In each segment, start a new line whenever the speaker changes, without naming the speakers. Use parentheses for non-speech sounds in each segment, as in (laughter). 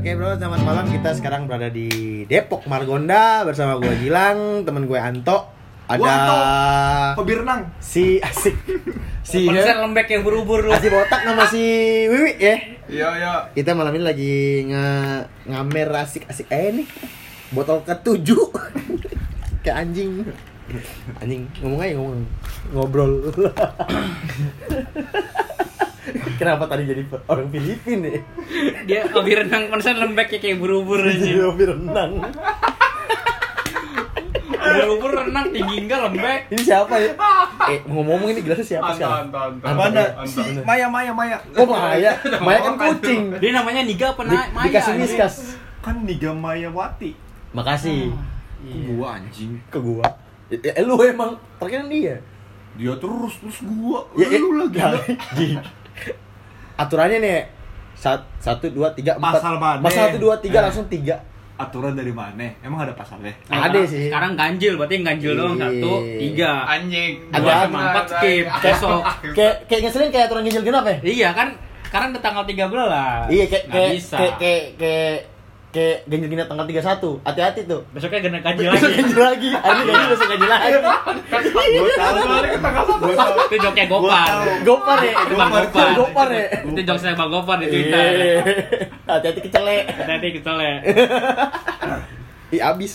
bro, selamat malam. Kita sekarang berada di Depok Margonda bersama gue Gilang, temen gue Anto. Ada
Gua Anto. hobi renang
si asik si eh,
Konser lembek yang berubur lu.
asik botak nama si Wiwi ya.
iya iya
Kita malam ini lagi nge ngamer asik asik eh nih botol ketujuh (laughs) kayak anjing anjing ngomong aja ngomong
(coughs)
ngobrol kenapa tadi jadi orang Filipin ya
(laughs) Dia hobi renang konser lembek ya kayak berubur aja.
hobi renang
Berubur renang tinggi enggak lembek.
ini siapa ya eh ngomong ini gelasnya siapa
Anta,
sekarang
anta, anta.
Anta,
mana
ya?
si Maya Maya (laughs) Maya
oh Maya Maya kan kucing
Dia namanya Niga apa
Di,
na- Maya? Nah,
dikasih
anjing?
miskas
kan Niga Mayawati
makasih
Ah.
Iya.
gua anjing
ke gua ya, eh, lu emang terkenal dia
dia terus terus gua
Oh,
ya, eh,
lu lagi
(laughs) ya, gini. aturannya nih sat, satu dua tiga empat
Pasal mana?
Pasal satu dua tiga
Eh.
langsung tiga
aturan dari mana emang ada pasalnya
Nah,
ada
sekarang-
sih
Sekarang ganjil berarti yang ganjil doang
Iya.
satu, tiga.
anjing
Ada
Gua
apa?
sama
Empat skip. Besok.
kayak kayak ngeselin kayak aturan ganjil genap ya
Iya kan? Sekarang udah tanggal 13.
iya kayak
Nggak
kayak
bisa.
kayak kayak kayak kayak ganjil genap tanggal tiga satu hati-hati tuh
Besoknya gak ganjil
Besok
lagi.
ganjil lagi hari ganjil besok ganjil lagi
gua tahu gua tahu
Itu joknya
Gua
Gopar.
tahu.
gopar ya
Bang
Gopar,
Gopar.
Gopar ya?
Itu joknya Bang Gopar di
Iya.
Twitter.
hati-hati kecelek
Hati-hati ya. Kan kita
Iya.
lihat.
ih abis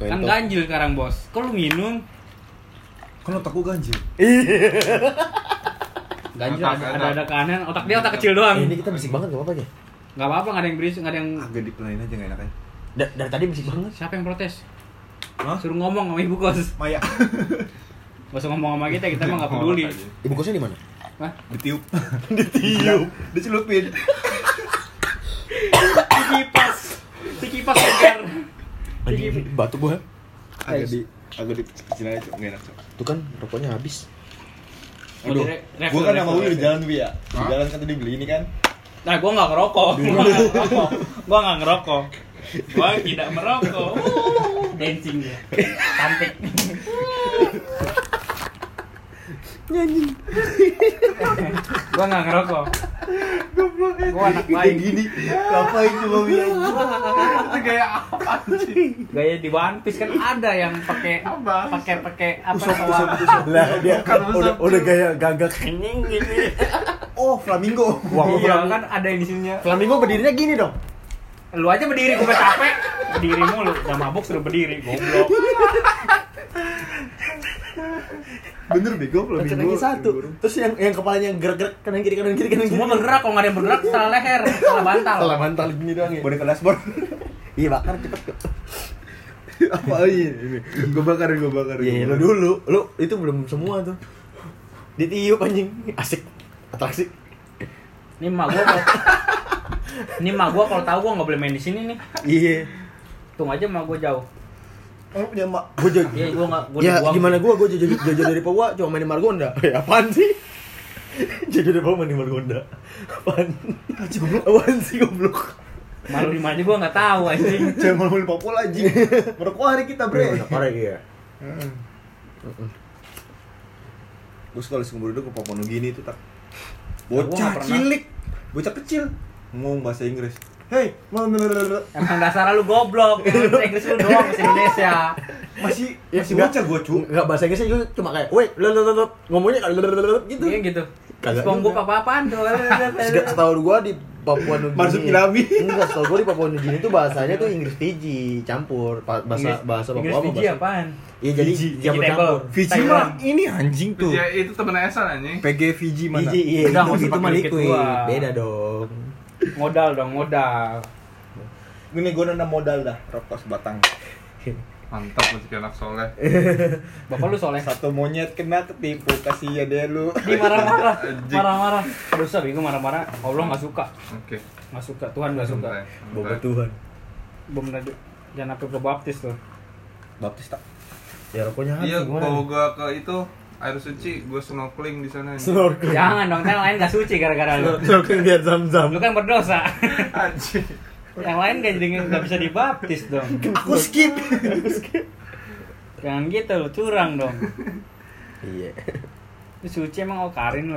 Kan ganjil sekarang bos. Kok lu minum?
kan otak gua ganjil
Iya.
Ganjil
Otak,
ada
otak.
ada, ada keanehan. Otak dia otak kecil doang.
Eh, ini kita bisik banget gak apa-apa ya
Gak apa-apa, gak ada yang berisik, gak ada yang...
agak dipenain aja gak enaknya
Da- dari tadi bisik banget
Siapa yang protes?
Hah?
Ah. Suruh ngomong sama ibu kos.
(laughs) Maya
Gak usah ngomong sama kita, kita mah gak
(laughs)
peduli.
Oh,
ibu kosnya di mana
Hah?
ditiup (laughs) ditiup dicelupin
Di kipas. Di kipas segar. Di kipas.
Anjing, batu ya? gua
agak di agak di kecil aja nggak enak Cok.
Tuh kan rokoknya habis.
Mau
aduh
dire- refill,
gua kan sama Wi
refill,
di
refill.
jalan Wi ya di
Hah?
jalan kan tadi beli ini kan
Nah, gua gak ngerokok. Gua gak ngerokok. Gua gak ngerokok. Gua tidak merokok. Uh, dancing dia. Cantik.
Nyanyi.
Gua gak ngerokok. Gua anak baik.
gini ngapain coba Wi itu kayak apa sih
Gaya di One Piece kan ada yang pakai
Apa?
pakai pakai apa
Usop,
kawan.
usop, usop.
Lah dia
Bukan, bukan.
udah udah gaya gagak kening gini.
oh flamingo
Wah,
Iya
flamingo.
kan ada yang di sininya.
Flamingo berdirinya gini dong.
Lu aja berdiri, gue udah capek. Berdiri mulu, udah mabuk suruh berdiri, goblok.
bener bego
Rencananya
flamingo
satu. Terus yang yang kepalanya yang gerak-gerak kanan kiri kanan kiri kanan kiri.
Semua bergerak, kalau nggak ada yang bergerak, salah leher, salah bantal.
Salah bantal gini doang ya.
boneka
(laughs)
dashboard
Iya bakar cepet. Kok.
apa ini gue iya, bakar gue bakar
Iya lu dulu. Lu itu belum semua tuh. Ditiup anjing. Asik. Atraksi.
Ini mak gua kalau ini mak gua kalau tahu gua nggak boleh main di sini nih.
Iya.
Tunggu aja mak gua jauh.
emang punya mak
Gue jadi.
Iya, gua nggak gua
ya
dibuang.
gimana gua gua jauh jauh dari Papua cuma main di Margonda. Ya apaan sih? Jauh dari Papua main di Margonda. Apaan? Apaan sih goblok?
Malu di mana gua nggak tahu anjing.
jangan malu malu popol aja merokok hari kita bre
Parah iya.
gue sekali seumur hidup ke Papua Nugini itu tak
Ya,
gua nggak
bocah
pernah.
cilik bocah kecil ngomong bahasa Inggris hey mau- mau- mau- mau- mau.
Emang dasar lu goblok, yang bahasa Inggris lu doang bahasa Indonesia.
masih
(laughs) Ya,
masih
enggak.
bocah gue cu
Enggak bahasa Inggrisnya juga cuma kayak wait lelelelelep ngomongnya kayak lelelelelep gitu.
Iya gitu.
Kagak
SpongeBob
juga.
apa-apaan tuh.
Sejak setahun gua di Papua Nugini.
Marsuk Kilami.
Enggak, setahun gua di Papua Nugini tuh bahasanya tuh Inggris Fiji campur Pa- bahasa bahasa Papua
Inggris
sama
Fiji
bahasa.
apaan?
Iya jadi
Fiji.
campur campur.
Vegetable.
Fiji
Thailand.
mah ini anjing tuh
ya itu temen Esan anjing
PG Fiji mana
Fiji iya
Udah,
itu
nggak usah
itu mah
pakai dikit
liquid.
doang.
Beda dong.
Modal dong, modal.
ini gue nanda modal dah rokok sebatang
mantap masih kayak anak soleh
Eh,
Bapak lu soleh.
satu monyet kena ketipu kasih ya deh lu
Di marah-marah,
Anjing.
marah-marah. Dosa bingung marah-marah. Allah nggak suka,
oke
nggak suka. Tuhan nggak suka. ya?
Bentar,
Boga
bentar.
Tuhan.
Bom tadi jangan sampai ke baptis tuh. (laughs)
baptis tak
Ya rokoknya hati
iya
gua.
bawa gua ke itu air suci gua snorkeling di sana anjing.
Snorkeling.
Jangan dong, ntar yang lain nggak suci gara-gara lu.
Snorkeling biar zam-zam.
Lu kan berdosa.
(laughs)
(laughs)
anjing (laughs)
yang lain nggak jadi nggak bisa dibaptis dong.
aku skip
Jangan gitu lu curang dong.
Iya.
Lu suci emang okarin lu.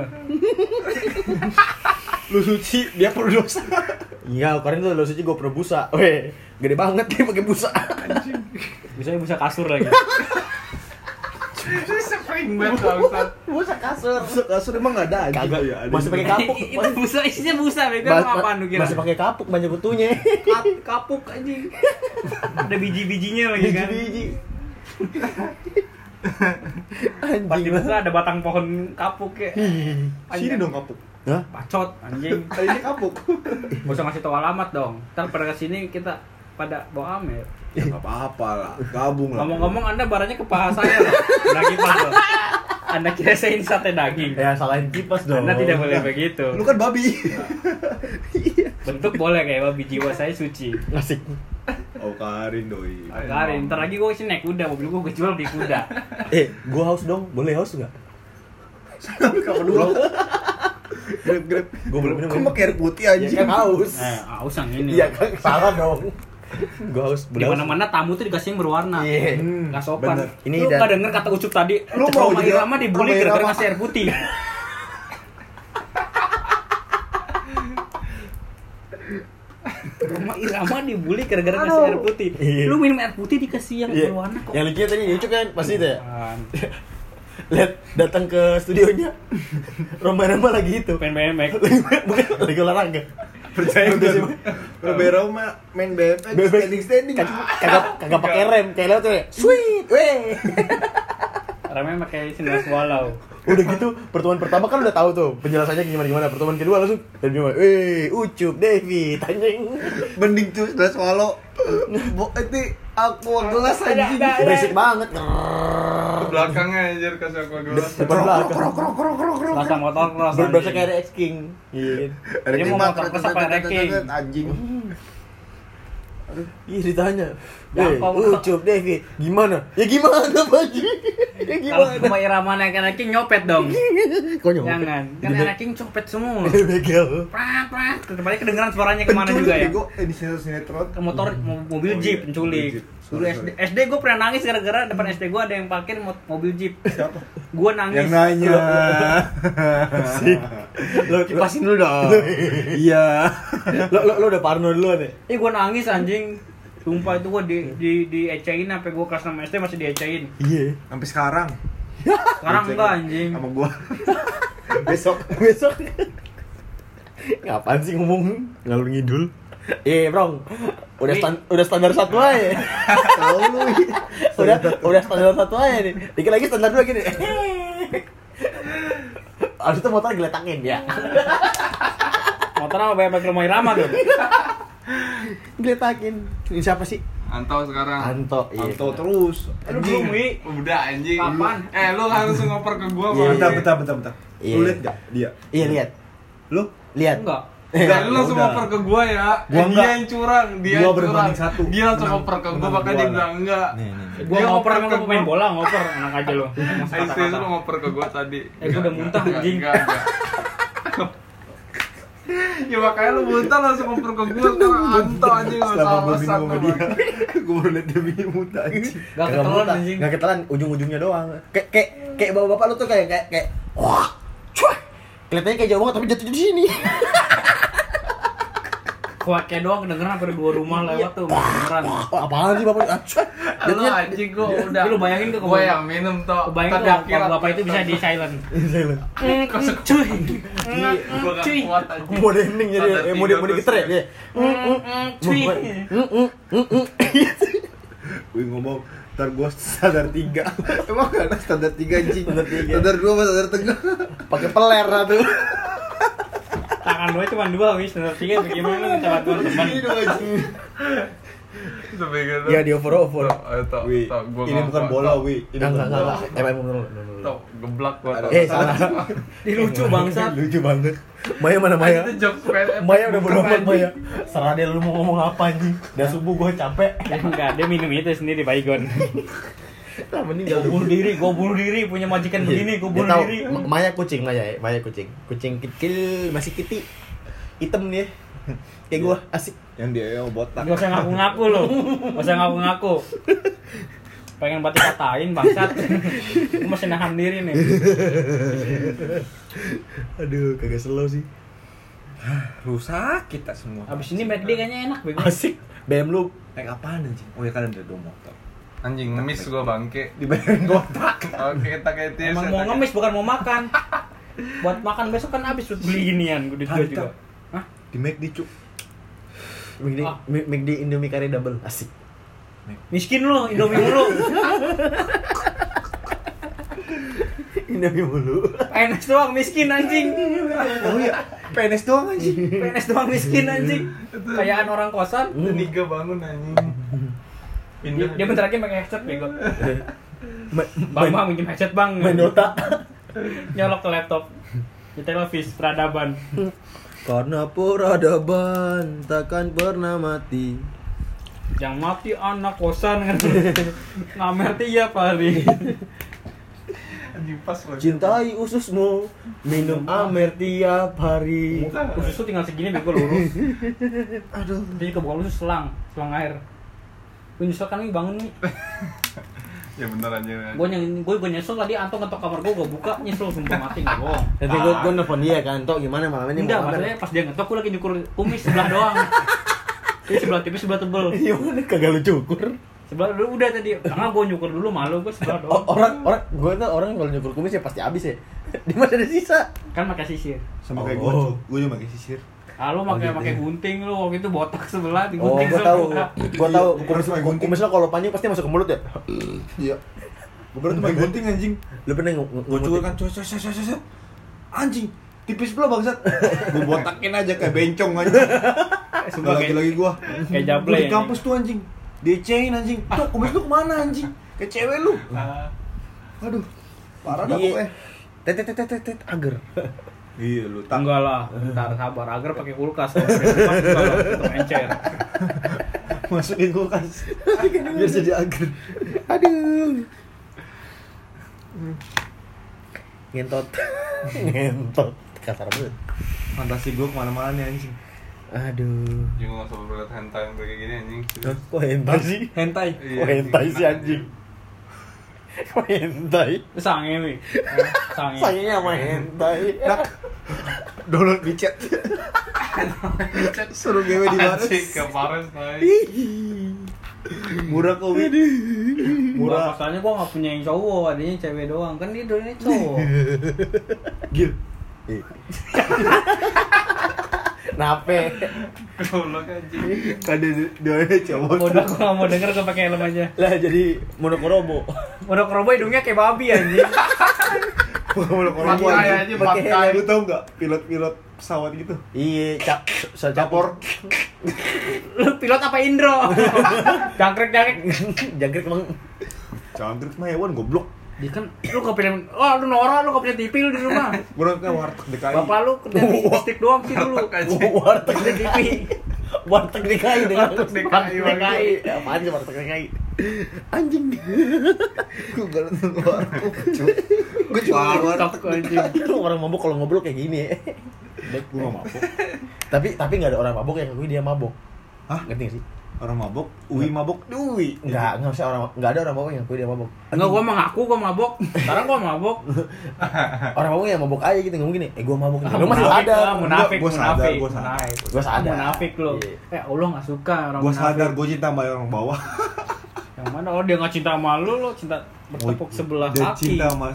lu suci dia perlu dosa
Iya, kemarin tuh lo suci gue pernah busa. Weh, gede banget dia pakai busa.
Bisa bisa kasur lagi.
sering banget kalau Ustaz.
busa kasur.
Masuk kasur emang nggak ada aja
Kagak.
ya. ada
Masih
juga.
pakai (laughs) kapuk.
(laughs) Itu busa, isinya busa, bego
Mas-
sama apaan lu kira?
masih pakai kapuk banyak butuhnya.
Kap- kapuk
(laughs)
anjing. Ada biji-bijinya lagi kan. (laughs)
Biji-biji. Anjing.
Pas dibuka ada batang pohon kapuk ya.
Sini dong kapuk.
Hah?
Bacot anjing.
Tadi ini kapuk.
Gak usah ngasih tahu alamat dong. Ntar pada kesini kita pada bawa Amir.
Ya (laughs) nggak apa-apa lah. Gabung lah.
Ngomong-ngomong Anda barangnya ke paha saya loh. Daging pas loh. Anda kira saya ini sate daging.
Ya salahin kipas dong.
Anda tidak boleh begitu.
Lu kan babi.
Bentuk boleh kayak babi jiwa saya suci.
Ngasih.
Oh Karin doi.
Karin, ntar lagi gue naik kuda, mobil gue gue jual di kuda.
Eh, gua haus dong. Boleh haus enggak?
Kapan dulu? Grab grab.
Gua belum minum.
Kok pakai air putih
Ya
anjing?
kan haus.
Eh,
Nah.
aus yang ini.
Iya kan salah dong. Gua haus.
Di
boleh haus.
mana-mana tamu tuh dikasih yang berwarna.
Iya.
Hmm,
Gak sopan.
bener.
Ini
Lu
dan-
gak denger kata Ucup tadi,
Lu
"Eh,
mau
Roma
jadi-
Irama dibully
Roma
gara-gara
Irama.
ngasih air
(laughs)
putih. Roma Irama dibully gara-gara ngasih air putih.
Iya.
Lu minum air putih dikasih yang
Iya.
berwarna kok.
Yang lucunya tadi lucu kan pasti itu ya.
Apaan?
Lihat datang ke studionya. Roma-roma lagi itu.
Pengen BMX.
Bukan lagi olahraga.
Percaya
Udah
gue
sih.
Romero mah main BMX
Bebek.
standing standing.
Kagak kagak pakai rem, kayak lewat tuh ya. Sweet. Weh.
Ramai pakai sendal swallow.
Udah gitu, pertemuan pertama kan udah tahu tuh penjelasannya gimana gimana. Pertemuan kedua langsung dari gimana? Eh, Ucup, Devi, tanjing.
Mending tuh udah swallow. Bo eh, itu aqua gelas anjing.
Berisik banget. Krrrr.
Ke belakangnya anjir kasih aku gelas.
Depan belakang.
Rasa motor cross.
Ber- Berasa
anjing.
kayak Rex King. Iya.
Dia mau
Mat,
motor cross
tetet,
apa
tetet,
reking?
tetet, Anjing.
Iya ditanya.
Ya,
Eh,
apa, Pak?"
Ucup, Devi, gimana? Ya gimana, Pak (laughs) Ji? Ya
Kalau
gimana?
Roma Irama naik anaknya nyopet dong.
(laughs) Konyol.
Jangan. Kan
Iya. (laughs)
anaknya copet semua.
Begal.
Prak prak. Kembali kedengeran suaranya kemana juga ya?
Bego, eh, di sinetron sinetron.
ke motor mo-
Oh,
mobil
iya,
jeep penculik
mobil jeep.
dulu
Sorry,
SD
sorry.
SD gue pernah nangis gara-gara depan SD gue ada yang parkir mo- mobil jeep
Siapa?
gue nangis
Yang nanya. (laughs)
Lo
Kipasin dulu dong. (laughs) Iya.
(laughs) lo lo, lo udah parno duluan ya?
eh gue nangis anjing sumpah itu gue di di diecein sampai gue kelas 6 SD masih diecein
Iya.
Sampai sekarang.
sekarang
Dicek
enggak anjing
Sama (laughs) gua. Besok.
Besok ngapain sih ngomong ngalur ngidul? Iya, Bro. Udah
Ini-
stan- udah standar satu aja. (laughs)
Tahu lu.
udah udah standar satu aja nih. Dikit lagi standar dua (laughs) gini. Harus itu motor geletakin ya.
motor sama bayar pakai rumah irama tuh
Geletakin. Ini siapa sih?
Antau sekarang.
Anto. Iya.
Mantau terus.
aduh belum wi
Udah anjing.
Kapan?
Eh lu langsung ngoper ke
Iya.
gua Bang.
Bentar, bentar, bentar, bentar.
Iya.
Lu lihat enggak dia?
Iya, lihat.
Lu?
Lihat.
enggak
Eh,
Enggak, lu langsung
udah.
ngoper ke gua ya.
Gua
eh, dia
enggak.
yang curang, dia
Gua
yang curang.
berbanding satu.
Dia langsung
Menang-
ngoper ke gua
menang gua
makanya dia
lah.
bilang enggak.
Nih, nih, nih.
gue
Dia
ngoper
ngoper
emang
ke
lu pemain
gua.
bola ngoper enak aja lo Masuk
Ayo serius lu
kata-kata.
ngoper ke gua tadi.
Eh, gua udah muntah, anjing.
Enggak, enggak. Ya makanya lu muntah langsung ngoper ke gua sekarang anto anjing enggak
Selama
salah
gua
alasan
bingung sama
lu,
dia.
(laughs)
Bang.
Gua baru lihat dia bingung muta anjing.
Gak
Kagak
ketelan
muntah,
anjing.
Gak ketelan, ujung-ujungnya doang. Kayak kayak kayak bapak-bapak lu tuh kayak kayak kayak wah. Cuah. Kelihatannya kayak jauh banget tapi jatuh di sini. (laughs)
kuaknya doang kedengeran sampai dua rumah
Iya.
lewat tuh kedengeran
Wah, apaan sih bapak? Ah, cuah.
Lu
Jatuhnya
anjing gua udah.
Lu bayangin tuh
gua
kebayang-
yang minum toh.
kebayang
Tadi
tuh
akhirat
kalau bapak itu
gitu.
bisa di silent
Iya, lu.
Kosek cuy. Mm,
Gua gak
Cuy.
kuat anjing.
Mode ending Hmm. jadi
Standar
eh, mode
tiga
mode
gua
geter ya.
sekarang.
dia. Mm, mm,
Cuy.
mm, mm, mm, mm, mm.
Gue ngomong ntar gua standar 3 (laughs) Emang gak ada standar 3 anjing
Standar tiga.
Standar 2 sama standar tengah
Pakai peler lah tuh.
Tangan gue cuma dua wis standar tiga bagaimana coba gue teman.
Ini dong anjing
Sebagai lu.
Iya,
Ya di over over.
Tok,
Wi,
gitu. eh, tok, tok, gua
ini
ngaku,
bukan
tok.
bola Wi Ini
Enggak
bukan
enggak
bola
enggak. Eh, emang dulu, dulu, dulu.
Tok, geblak gua tok.
Eh, salah.
Ini lucu bangsa.
Lucu banget. Maya mana Maya?
Itu jokes PNS.
Maya udah bodo amat
Anjing.
Maya. Serah deh lu mau ngomong apa anjing. Udah subuh gua capek.
Ya enggak, dia minum itu sendiri Baygon.
Lah
Gue
meninggal
bunuh diri, gue bunuh diri punya majikan begini, gue bunuh
Dia tahu,
diri.
Ma- Maya kucing, Maya, ya, Maya kucing. Kucing kecil masih kiti. Hitam dia. (laughs) Kayak gua asik.
Yang dia yang botak
Gak usah ngaku-ngaku lo, gak usah ngaku-ngaku. Pengen buat dikatain bangsat. Gue masih nahan diri nih.
Aduh, kagak slow sih.
rusak kita semua
Abis ini McD kayaknya enak bego.
asik BM lu naik apaan anjing oh ya kan ada dua motor
Anjing ngemis gua bangke.
dibayarin kotak
Oke, tak itu
Emang mau ngemis bukan mau makan. Buat makan besok kan abis buat beli ginian gue juga
Harta.
juga. Hah?
di McD cu
McD,
Ah.
Mi- McD Indomie kare double asik
Miskin lu, Indomie mulu.
(laughs) Indomie mulu
PNS doang miskin anjing.
oh iya PNS doang anjing
PNS doang miskin
Iya.
anjing. Kayaan orang kosan.
Niga bangun anjing.
Dia,
Pindah.
dia bentar lagi pakai headset bego.
Ma-
Bang,
main-
bang minjem headset, Bang.
main Dota
Nyolok ke laptop. Di televisi peradaban.
karena peradaban takkan pernah mati
Yang mati anak
(laughs)
kosan iya, kan. Ngamer tiap hari.
Anjing pas lagi.
cintai ususmu minum amer tiap hari
Muka.
Usus tuh tinggal segini bego lurus.
aduh
Jadi kebuka usus selang, selang air. Gue nyesel kan nih bangun nih.
Eh.
Ya bener anjing.
Gue yang gue gue nyesel tadi Anto ngetok kamar gue, gue buka nyesel sumpah mati nggak bohong.
nanti gue gue nelfon dia kan toh gimana malam ini
Enggak,
mau
maksudnya
amer
pas dia ngetok gue lagi nyukur kumis sebelah doang. Jadi sebelah tipis sebelah tebel.
(laughs) iya mana kagak lu cukur
Sebelah dulu udah tadi. Karena gue nyukur dulu malu gue sebelah
O-
doang.
orang orang gue tuh orang kalau nyukur kumis ya pasti habis ya (laughs) di mana ada sisa
Kan pakai sisir.
sama kayak
Oh.
gua cu gua juga pakai sisir
Ah
Oh,
lu pakai
gitu
pakai
ya.
gunting lu waktu itu botak sebelah
oh
digunting
gue tahu
sebelah.
gue tahu
Iya,
kumis
harus pakai gunting.
kumis lo kalau panjang pasti masuk ke mulut ya
iya gua baru tuh pakai gunting anjing
lu pernah ngu- ngu-
gua cukur
nguntit?
kan cukur cukur cukur cukur anjing tipis pula bangsat (laughs) gua botakin aja kayak bencong anjing
Sumpah,
lagi lagi gua
Kayak jable
Gua di
ya,
kampus tuh anjing dicein anjing tuh kumis lu kemana anjing ke cewek lu
Ah.
aduh parah dah
Iya.
pokoknya
tet tet tet tet tet agar
iya lu
Enggak lah, ntar sabar agar pakai kulkas kalau pakai kulkas enggak lah, itu encer.
(laughs) masukin kulkas biar jadi agar
aduh (laughs) ngentot ngentot kasar banget
fantasi gua kemana-mana nih anjing
aduh
Anjing gua enggak sabar lihat hentai yang kayak gini anjing.
Hah, kok hentai sih
hentai
kok hentai sih anjing kok hentai
Sange nih. Sange.
sayangnya sama hentai
download micet suruh gue di baris
Anjing ke Paris naik.
murah kok Win. murah
Murah. Masalahnya gua enggak punya yang cowok, adanya cewek doang. Kan dia doanya cowok.
gil
nape
Goblok anjing.
ada doanya cowok
Bodoh gua enggak mau denger gua pakai helm aja.
lah jadi monokromo
Bodoh keroboh hidungnya kayak babi anjing.
kalau kalau
Pakai aja, pakai.
lu tau nggak pilot-pilot pesawat gitu
iya cap so
capor
Lu (laughs) pilot apa
(laughs)
Indro? Jangkrek-jangkrek.
jangkrik emang
cangkrik mah hewan goblok
Dia kan lu kepilih, wah lu Nora lu kepilih TV lu di rumah.
murah kan warteg DKI
Bapak lu kerja di stick doang sih dulu.
Warteg aja.
(laughs) warteg
(laughs) Kerja
warteg DKI
di TV.
dengan
Warteg DKI,
DKI Ya, apaan sih warteg DKI anjing
gue gak nonton warteg gue jualan warteg
Warteg anjing.
itu orang mabuk kalau ngobrol kayak gini ya
gue gak mabok
tapi tapi nggak ada orang mabuk yang ngakui dia mabuk
Hah?
ngerti nggak sih
orang mabok Uwi mabok Uwi
nggak nggak usah orang nggak ada orang mabuk yang ngakui dia mabuk
Enggak, gua mah ngaku gua mabok. Sekarang gua
(laughs)
mabok.
orang mabuk yang mabuk aja gitu ngomong gini eh gue mabuk nih
Ah,
lu masih
munafik
sadar
lah, Munafik,
Gua- gua sadar,
munafik.
gua sadar.
Munafik.
Gua sadar.
Munafik lu.
Iya.
Eh, Allah nggak suka orang
gue
munafik.
sadar gue cinta sama orang bawah
Yang mana oh dia nggak cinta sama lu, lu cinta bertepuk sebelah
Oh, dia
kaki.
cinta sama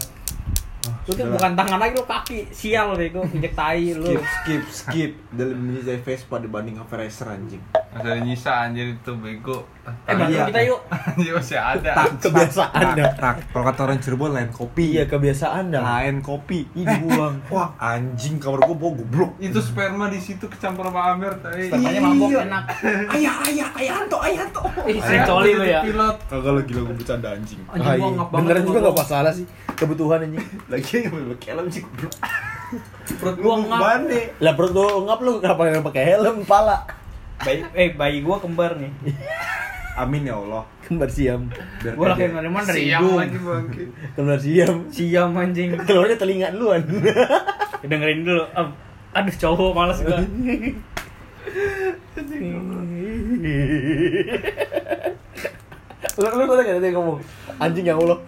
Ah,
Lu tuh
udahlah.
bukan tangan lagi lu kaki. Sial bego, injek tai lu.
skip skip skip dalam mencintai Vespa dibanding Racer anjing
Masih ada nyisa anjir itu bego.
Eh, bantu
Iya.
kita yuk.
Anjir masih ada.
kebiasaan dah.
tak, tak. Nah, kalau kata orang Cirebon lain kopi
iya kebiasaan dah
Nah,
lain kopi
Ih, dibuang.
wah anjing kamar gua bau goblok
Itu sperma di situ kecampur sama Amir tadi.
Katanya mabok
Iya.
enak.
ayah ayah ayah anto ayah anto
Ih, sering coli lu
Iya.
ya.
Pilot.
kagak lagi lagu bercanda anjing
Anjing,
Ah,
gua
iya.
ngap banget,
beneran
gua
juga nggak
bohong.
masalah sih kebutuhan anjing
lagi yang mau pakai helm sih goblok
Perut gua ngap.
bane
lah perut lu ngap lu kenapa nggak pakai helm pala
Bayi, eh bayi gua kembar nih.
amin ya Allah
kembar siam
biar
Gua
kagak-
lagi dari mana dari
Siang
hidung.
lagi bangke.
kembar siam
Siam anjing.
keluarnya telinga duluan
Dengerin dulu. Em, Aduh cowok males gua.
lu lu tau gak tadi ngomong anjing ya Allah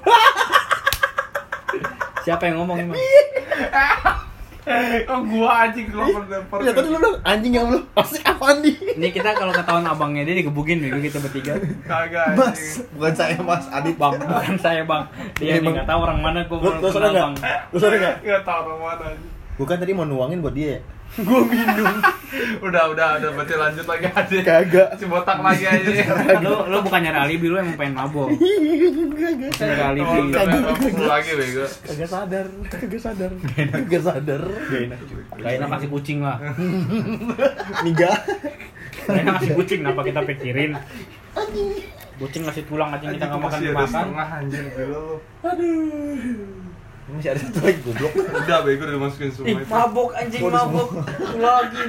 Siapa yang ngomong emang?
Kok Oh, gua anjing lempar-lempar.
(laughs) Ya tadi lu bilang anjing yang lu asik apaan nih?
Ini kita kalau ketahuan abangnya dia dikebukin bego kita bertiga.
Kagak.
Mas,
anjing.
bukan saya Mas Adit.
Bang, bukan saya bang. Dia
Ini,
nih
Bang.
nggak tahu orang mana gua
Lu
belum
lu sadar
kenal
enggak?
bang.
Lu sadar enggak?
Enggak tahu orang mana anjing.
Bukan kan tadi mau nuangin buat dia ya?
Udah, udah, udah berarti lanjut lagi aja.
Kagak.
Si botak lagi aja.
Lu lu bukan nyari alibi lu emang pengen mabok.
Kagak.
Nyari
Oh,
alibi.
udah, udah, udah, lagi bego.
Kagak sadar, kagak sadar. Kagak sadar.
Kayaknya kasih kucing lah.
Niga.
Kayaknya kasih kucing kenapa kita pikirin? Kucing ngasih tulang aja kita nggak makan
masih ada
makan.
setengah anjir gila lu.
Masih ada satu lagi goblok.
Udah bego udah masukin semua
Ih,
itu.
mabok anjing mabok lagi.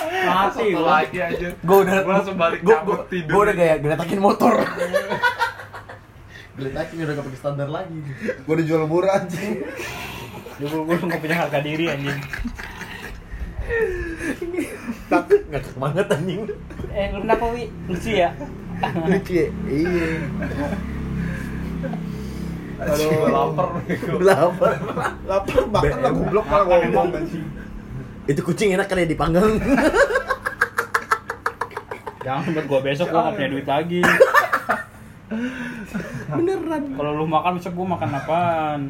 Mati
Satu
gua.
lagi aja.
Gua udah
Gua langsung balik
gua,
cabut,
gua-
tidur.
Gua udah kayak geletakin motor. geletakin udah gak pakai standar lagi. Gua udah jual murah anjing.
Dulu gue nggak punya harga diri anjing.
Takut enggak banget anjing.
(laughs)
Eh, lu kenapa wi? Lucu ya?
Lucu ya? Iya.
Aduh, gua lapar bego.
Lapar. Lapar makan lah goblok malah ngomong. Itu kucing enak kali ya
(laughs)
dipanggang.
Jangan buat gue besok gue nggak punya duit lagi.
Beneran.
Kalau lu makan besok gue makan apaan?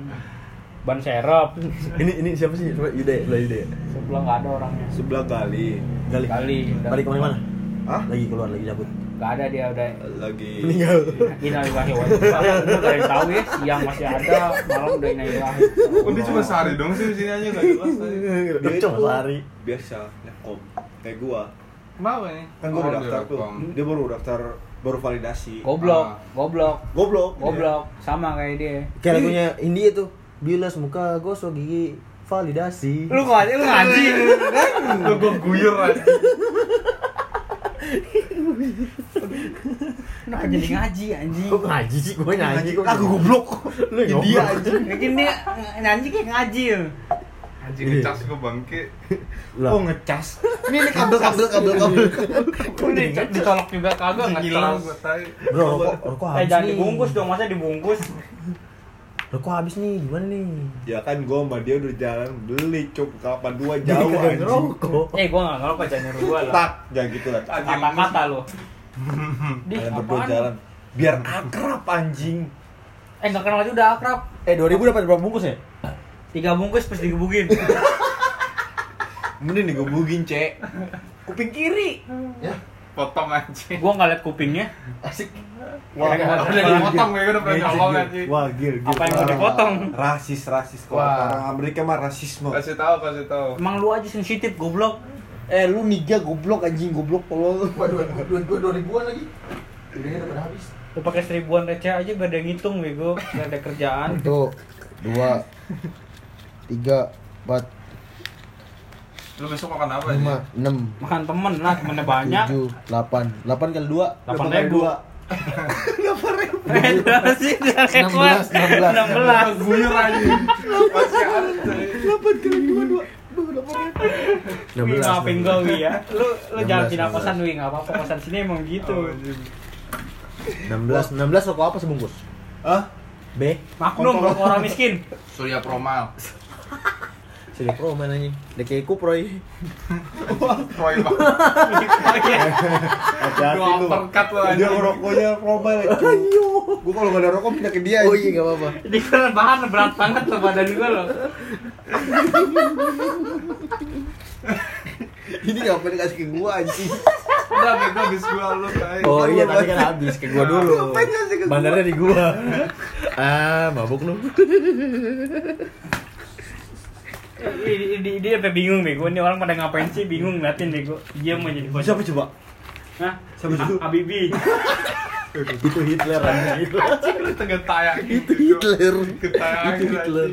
Ban serep.
Ini ini siapa sih? Coba Yuda ya, sebelah Yuda ya.
Sebelah nggak ada orangnya.
Sebelah kali
Gali.
Kali.
Balik kemana mana?
Hah?
Lagi keluar lagi cabut.
Nggak ada dia udah.
Lagi (laughs)
Meninggal.
Inalillahi wa inna ilaihi raji'un. Lu nggak ada yang tahu ya. Siang masih ada, malam udah inalillahi.
Udah Oh, cuma sehari dong sih di sini aja enggak jelas tadi.
Dia cuma lari.
biasa nekom kayak gua
Kenapa nih?
kan
Oh,
gua udah daftar tuh
direkom.
dia baru daftar baru validasi
Goblok,
Ah.
goblok,
goblok
goblok. Sama kayak dia.
Kayak lagunya India tuh. Bilas muka gosok gigi validasi.
Lu kok aja lu ngaji.
Lu gua guyur aja.
Kenapa jadi ngaji anjing?
Kok ngaji sih? Gue nyanyi kok. gitu?
Lagu goblok
(laughs) Lu India aja.
Mungkin dia nyanyi kayak ngaji ya.
Anjing ngecas gua bangke.
oh ngecas
ini ini kabel kabel kabel kabel.
Udah
kan
ditolak juga kagak
Ngilang gua tai.
Bro, rokok rokok
Eh
habis
jangan
nih.
dibungkus dong, masa dibungkus?
Rokok habis nih, gimana nih?
ya kan gua sama dia udah jalan beli cuk kapan dua
Jadi
jauh
kagak
anjing
ngerokok.
Eh gua nggak ngerokok jangan nyuruh gua lah.
tak jangan gitu lah
Kata-kata
(laughs)
lo. Di
kalian berdua
apaan?
jalan biar akrab anjing
Eh nggak kenal aja udah akrab.
Eh 2000 dapat berapa bungkus ya?
Tiga bungkus pas
(laughs)
digebukin.
mending digebukin cek
Kuping kiri.
Potong anjing.
Gua nggak liat kupingnya.
Asik.
wah
Keren banget.
Udah dipotong ya, udah pernah nyolong anjing.
wah gil gil
Apa yang mau dipotong?
rasis rasis kalau
Wah.
orang Amerika mah rasisme
Kasih tahu, kasih tahu.
Emang lu aja sensitif goblok.
Eh lu niga goblok anjing goblok tolol. Waduh, 2000-an lagi. Udahnya udah pada habis.
Lu pakai seribuan receh aja gak ada yang ngitung bego, gak ada kerjaan.
Satu, dua, tiga, empat,
Lu besok makan apa
lima,
aja?
enam,
Makan temen lah, temennya banyak.
tujuh, delapan. Delapan kali dua.
Delapan
kali
ribu.
dua.
(laughs) Eh, terus sih,
Enam belas, enam belas.
16.
Guyur anjing. Masih ada.
Delapan kali dua dua. Enam
Wi,
belas.
maafin gue Wi ya Lu, lu jangan
16,
pindah kosan Wi, gak apa-apa kosan sini emang gitu
Oh, anjing.
Enam belas. Enam belas rokok apa sebungkus?
ah
B.
Maklum, kalau orang miskin
Surya Promal.
Sidik pro mana anjing? Dek kuproy.
Roy banget.
hati-hati
Dua
lu
uppercut lu
dia
anjing.
ngerokoknya romal (laughs) cuk gua kalau gak ada rokok pindah ke dia
Oh
anjing.
iya enggak apa-apa.
Di kosan bahan berat banget tuh badan gue loh
ini ngapain kasih ke gua anjing
Udah bego habis gua lu tai.
Oh iya tadi kan habis ke gua dulu.
Ngapain ngasih ke gua?
Bandarnya di gua. Ah, mabuk lu.
Dia- dia- Dia sampe bingung bego, ini orang pada ngapain sih bingung ngeliatin bego Dia mau jadi kosan
siapa coba
Hah?
Siapa
Ah,
itu?
Habibi
Itu Hitler anjing.
Anjing lu tengah gitu, tayak.
Itu Hitler.
Ketayang
Itu Hitler.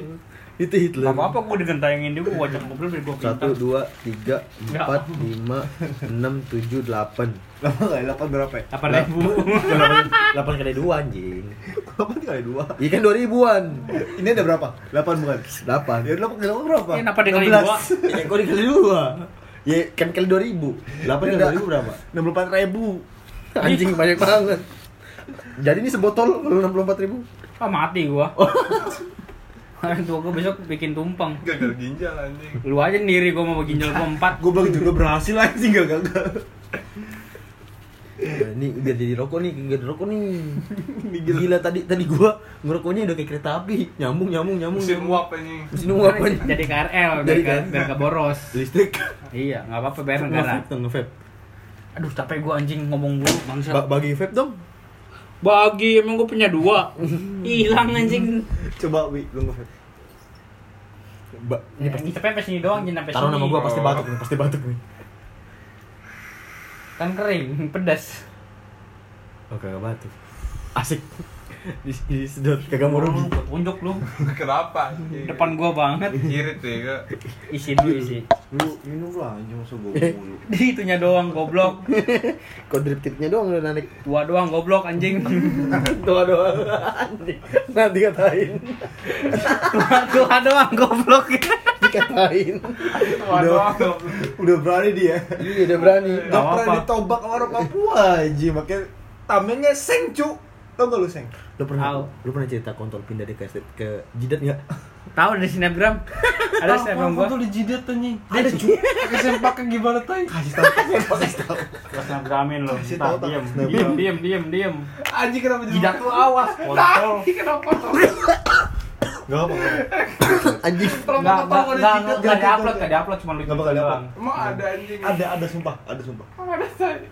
Itu Hitler.
Gak apa-apa gue digentayangin dia, gue wajah ngobrol dari gue
Satu,
pintar
dua, tiga,
Enggak.
empat, lima, enam, tujuh, delapan.
lama gak delapan berapa ya?
Apa ribu?
Delapan kali dua anjing.
delapan kali dua
Iya kan dua ribuan.
ini ada berapa? delapan bukan?
Delapan.
ya delapan kali delapan berapa?
Ini kenapa dikali
16.
dua?
(laughs) Ya kok dikali dua. Ya kan kali dua ribu. Delapan kali dua ribu berapa?
64 ribu
Anjing banyak banget.
Oh.
Jadi ini sebotol kalau enam puluh empat ribu.
Ah mati gue Ah, (laughs) Orang tua gue besok bikin tumpeng.
gagal ginjal anjing
Lu aja sendiri gue mau bikin ginjal gue empat.
Gue bilang juga berhasil anjing gak gagal.
Nah, ini biar jadi rokok nih, biar jadi rokok nih. Gila. tadi tadi gua ngerokoknya udah kayak kereta api, nyambung nyambung nyambung.
musim uap anjing (laughs)
Mesin uap aja.
Jadi KRL biar
Jadi
ke-
KRL.
biar gak boros.
Listrik.
Iya, nggak apa-apa bayar negara.
Nge-vape dong, nge-vape.
Aduh capek gue anjing ngomong dulu bangsa.
Ba- bagi vape dong.
Bagi emang gue punya (laughs) dua. Hilang anjing.
Coba wi lu nge-vape. Ba-
Ini pasti sampai sini doang, jangan sampai sini.
Taruh nama gua pasti batuk nih, pasti batuk nih.
Kan kering, (laughs) pedas.
Oke, Oh, kagak batuk. Asik. (laughs) Di, di sedot kagak mau rugi.
Gua Tunjuk lu.
kenapa anjing?
Depan gua banget.
irit ya Kak.
Isi dulu isi.
Lu minum lah anjing masa gue mulu.
(laughs) Di itunya doang goblok.
Kok drip-dripnya doang lu narik.
Dua doang goblok (laughs) anjing.
(laughs) Doa doa. Nanti katain.
Dua doang goblok. (laughs)
Dikatain.
Waduh,
(laughs) Udah berani dia.
(laughs) Iya, udah berani.
Gak
apa-apa.
pernah ditobak sama orang Papua anjing. Makanya tamennya seng cu. Tau gak lu seng?
Lu pernah
Tahu.
lu pernah cerita kontol pindah dari kaset ke jidat enggak?
Tahu dari (laughs) snapgram? Ada snapgram gua.
tuh dijidat anjing
Ada cu.
pakai sempaknya gimana tay
Kasih (laughs) tau. Kasih tau.
Gua snapgramin lo.
Kasih tahu,
Diam,
Pak.
diam, diam, diam, diam.
anjing kenapa jadi
Jidat lu awas, kontol.
Gak apa-apa.
Anjing.
Enggak, enggak, enggak,
Kenapa kalau
enggak,
dijidat?
enggak di-upload, enggak di-upload cuma lu gitu
Nggak bakal
doang.
di-upload.
emang ada anjing
Ada ada sumpah, ada sumpah.
ada Tay?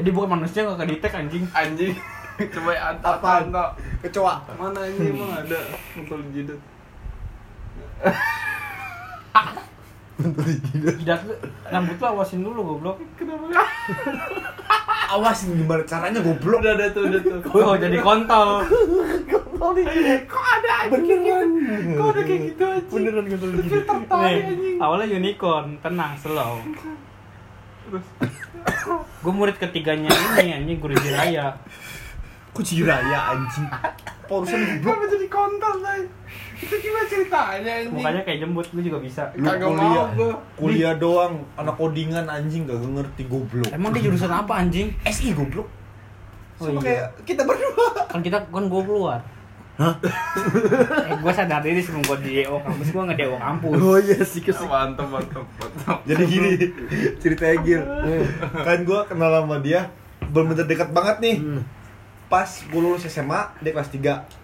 Jadi bukan manusia enggak kedetek anjing.
anjing (laughs) coba antar
Apaan?
antar
Kecoa.
mana anjing emang ada untuk jidat
Jidat lu, rambut lu awasin dulu goblok.
Awasin gimana caranya goblok.
udah ada tuh udah tuh
Oh, jadi kontol.
kok ada anjing gitu? kok ada kayak gitu anjing
Beneran kontol jidat.
tertarik anjing
Nih, awalnya unicorn, tenang, slow.
terus
Gue murid ketiganya ini anjing guru jiraya.
Kok jiraya anjing. Porsen goblok.
kenapa jadi kontol tay itu gimana ceritanya anjing
Mukanya kayak jembut, lu juga bisa.
Lu
Kagak
kuliah,
mau gua.
kuliah doang, anak codingan anjing gak ngerti goblok.
(laughs) Emang dia jurusan apa anjing?
SI goblok.
Oh,
Sama
iya.
kayak kita berdua.
Kan kita kan gue keluar. Hah? eh, gue sadar diri sebelum gue di DO kampus, gue nggak DO kampus.
Oh iya, sikis.
mantap mantap mantap
(laughs) Jadi gini, ceritanya Gil.
Eh,
kan gua kenal sama dia bener-bener dekat banget nih.
Hmm.
Pas gua lulus SMA, dia kelas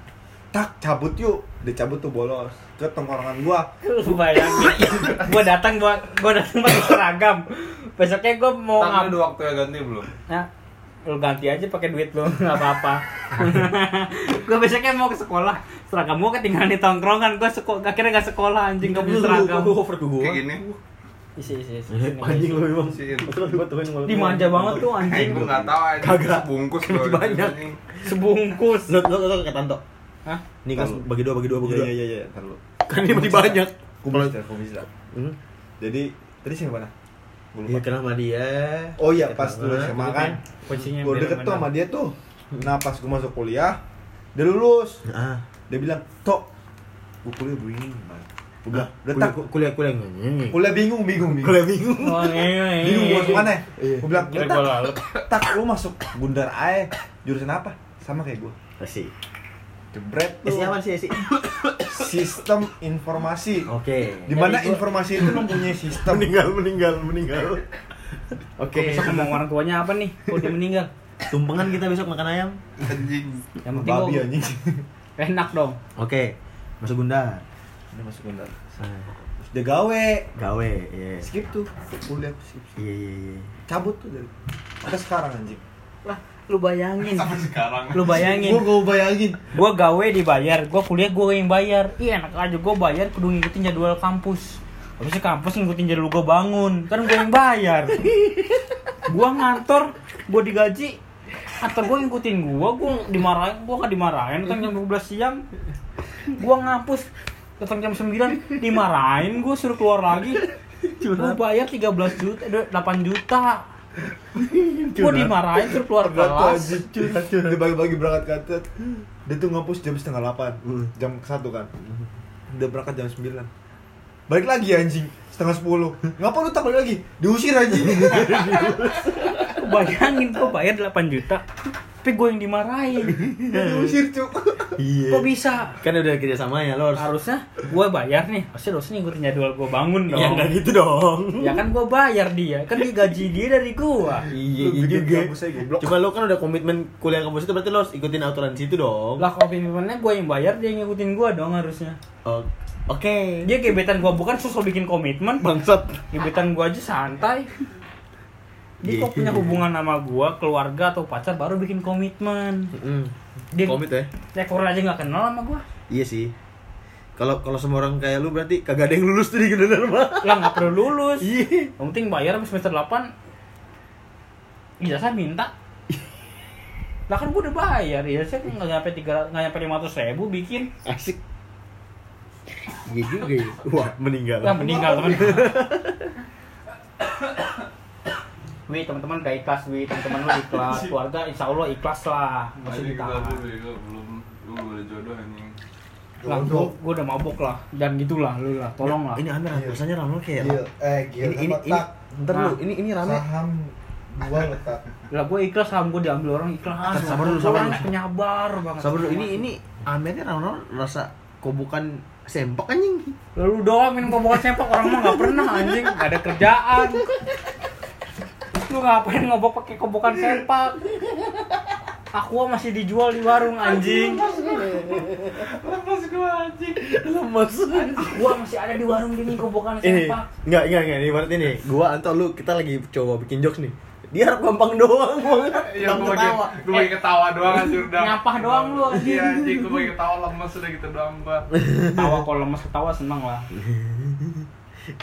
3. Tak cabut yuk. Dia cabut tuh bolos ke tongkrongan gua.
Lu bayangin, gue datang buat gue datang pakai seragam. Besoknya gue mau ngap.
Tang, udah waktu yang ganti belum?
Nah, lu ganti aja pakai duit lu, (laughs) nggak apa-apa. gue besoknya mau ke sekolah, seragam gue ketinggalan di tongkrongan, gue seko akhirnya gak sekolah anjing, gak punya seragam.
Gua over ke gua.
Kayak gini?
Isi isi isi.
Eh, Anjing lu memang.
Siin.
Terus gua tuh yang
Dimanja banget tuh
Eh,
anjing,
gue nggak tahu aja.
Kagak.
Bungkus
Lebih
loh,
banyak.
anjing.
sebungkus.
Lu lu lu ke Tanto.
Hah?
Nih kan
Tahu.
bagi dua bagi dua bagi dua.
iya iya, ntar lu.
Kan ini masih banyak.
Kumpul aja, kumpul aja.
Hmm.
Jadi tadi siapa mana? Gua
Iya
lupa.
kenal sama dia.
Oh iya, pas
Kenal
dulu
sama-
SMA kan.
Iya,
Kuncinya
gue
biar
deket tuh
menang.
sama dia tuh nah pas gue masuk kuliah dia lulus
Ah.
dia bilang tok gue kuliah bingung man gue bilang udah
Kuliah
tak
Ah, kuliah kuliah enggak.
kuliah bingung bingung bingung
Kuliah bingung.
Wah, ngewe.
bingung gue masuk mana
Iya.
gue bilang
Gila
udah
gue
tak
lalu.
tak lu masuk gundar ae jurusan apa sama kayak gue
Masih.
jebret
Eh,
tuh
siapa sih eh, sih?
sistem informasi
Oke.
di mana
Jadi gua-
informasi itu mempunyai
Oh.
sistem
Meninggal meninggal meninggal.
Oke,
Oke.
besok ngomong orang tuanya apa nih? Kalau dia meninggal.
Tumpengan kita besok makan ayam.
Anjing.
Yang penting
babi
gua
anjing
enak dong.
Oke. Masuk Gundar.
dia masuk gundar
Ah,
terus dia gawe
Gawe. Iya.
skip tuh kuliah skip
Iya iya iya.
cabut tuh dari ada sekarang anjing
Lah, lu bayangin.
Sampai sekarang.
Lu
gue
bayangin.
gue bayangin
Gua gawe dibayar, gua kuliah gua yang bayar. Iya, enak aja gua bayar kudu ngikutin jadwal kampus. Habis itu kampus ngikutin jadwal gua bangun, kan gua yang bayar. gua ngantor, gua digaji. Atau gua ngikutin gua, gua dimarahin, gua gak dimarahin datang jam 12 siang. Gua ngampus datang jam 9 dimarahin, gua suruh keluar lagi. Gua bayar 13 juta, eh, 8 juta. Gua dimarahin suruh keluar
Pernah tuh
kelas.
anjing curhat curhat dia bagi-bagi berangkat kantor dia tuh ngampus jam setengah delapan
Hmm.
jam satu kan dia berangkat jam sembilan balik lagi anjing setengah sepuluh ngapa lu tak balik lagi diusir
(laughs)
anjing
bayangin gua bayar 8 juta tapi gue yang dimarahin
diusir cu Iya.
kok bisa
kan udah kerja sama ya lo harus,
harusnya gue bayar nih harusnya dosen ngikutin jadwal gue bangun dong
(laughs) ya
ya,
nggak gitu dong
Ya.
kan gue bayar dia kan dia gaji dia dari gue
iya
Lu
iya
bikin
juga
kampus aja, goblok.
cuma lo kan udah komitmen kuliah kampus itu berarti lo harus ikutin aturan situ dong
lah komitmennya gue yang bayar dia yang ngikutin gue dong harusnya
O- oke
dia gebetan gue bukan susah bikin komitmen
bangsat
gebetan gue aja santai dia kok
Iya.
punya hubungan sama gue keluarga atau pacar baru bikin komitmen
Mm-mm.
dia
komit ya
rekor aja nggak kenal sama gue
iya sih kalau kalau semua orang kayak lu berarti kagak ada yang lulus dari Gendar mah
lah nggak perlu lulus
iya
yang penting bayar habis semester 8 ijazah minta lah kan gue udah bayar ijazah kan nggak nyampe tiga nggak nyampe lima ribu bikin
asik iya juga ya wah meninggal
lah meninggal teman (coughs) Wih teman-teman gak ikhlas, wih teman-teman lu ikhlas, keluarga insya Allah ikhlas lah, nggak usah
Masih
ditahan.
ya, belum belum ada jodoh anjing.
Lah gue gue udah mabok lah, dan gitulah lu lah, tolong lah.
ini aneh
Iya.
rasanya Ramlo kayak
Gil, eh gil
ini ini ini
letak
ntar
Nah.
lu ini ini rame
saham gua letak.
Lah gue ikhlas saham gue diambil orang ikhlas.
Sabar dulu,
Gua
sabar
orang
dulu.
Penyabar banget.
sabar dulu ini ini Amernya Ramlo rasa kobukan sempak anjing
Lalu doang minum kobokan sempak orang mah nggak pernah anjing, nggak ada kerjaan. Lu ngapain ngobok pakai kobokan sempak? Aqua masih dijual di warung anjing.
Lepas gua anjing.
lemas Eh.
Aqua masih ada di warung ini kobokan
ini
sempak.
nggak nggak nggak ini berarti nih Eh, gua Anto lu kita lagi coba bikin jokes nih dia harap gampang doang bang
Iya,
Gampang
gua pakai
ketawa.
gua pakai ketawa doang anjir udah.
Nyapah doang lu, anjing.
Iya anjing gua pakai ketawa lemes udah gitu doang
(laughs)
gua.
Tawa kalau lemes ketawa seneng lah.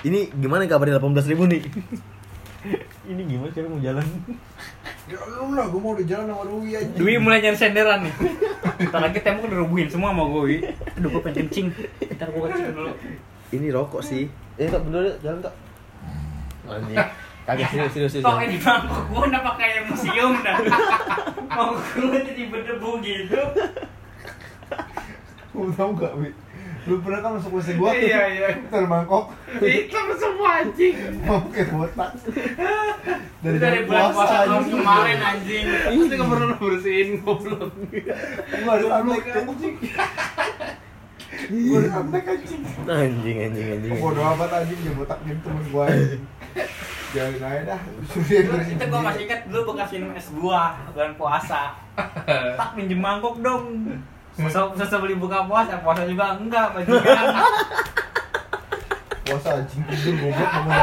ini gimana kabarnya 18.000 ribu nih ini gimana sih mau jalan
Ya lu lah, gua mau udah jalan sama Rui aja.
Dwi mulai nyari senderan nih. Ntar lagi tembok dirubuhin semua sama gue. Wi. Aduh gue pengen kencing. Ntar gue kencing dulu.
ini rokok sih ini tak bener Eh, Tok. jalan tak anjing kagak serius serius serius
Kok
jalan.
ini mangkok gue udah pakai museum dah. Mau gue jadi berdebu gitu.
Lu tau gak, Wi? Lu pernah kan masuk WC gua?
Iya, iya.
Ntar mangkok,
Hitam semua anjing.
pakai botak.
Dari, dari bulan puasa tahun
anjing.
kemarin anjing.
Itu enggak perlu lu bersihin goblok.
Gua ada sampai anjing. Gua ada sampai anjing.
Nah, anjing anjing anjing,
Gua
anjing.
doa amat anjing dia botak jadi temen gua anjing. Jalan aja dah. Suruh dia
Itu,
beresin
itu gue
sendiri.
masih ingat dulu bekas minum es buah bulan puasa. Tak minjem mangkok dong. Susah, susah beli buka puasa, puasa juga enggak, bajingan.
Puasa anjing itu goblok sama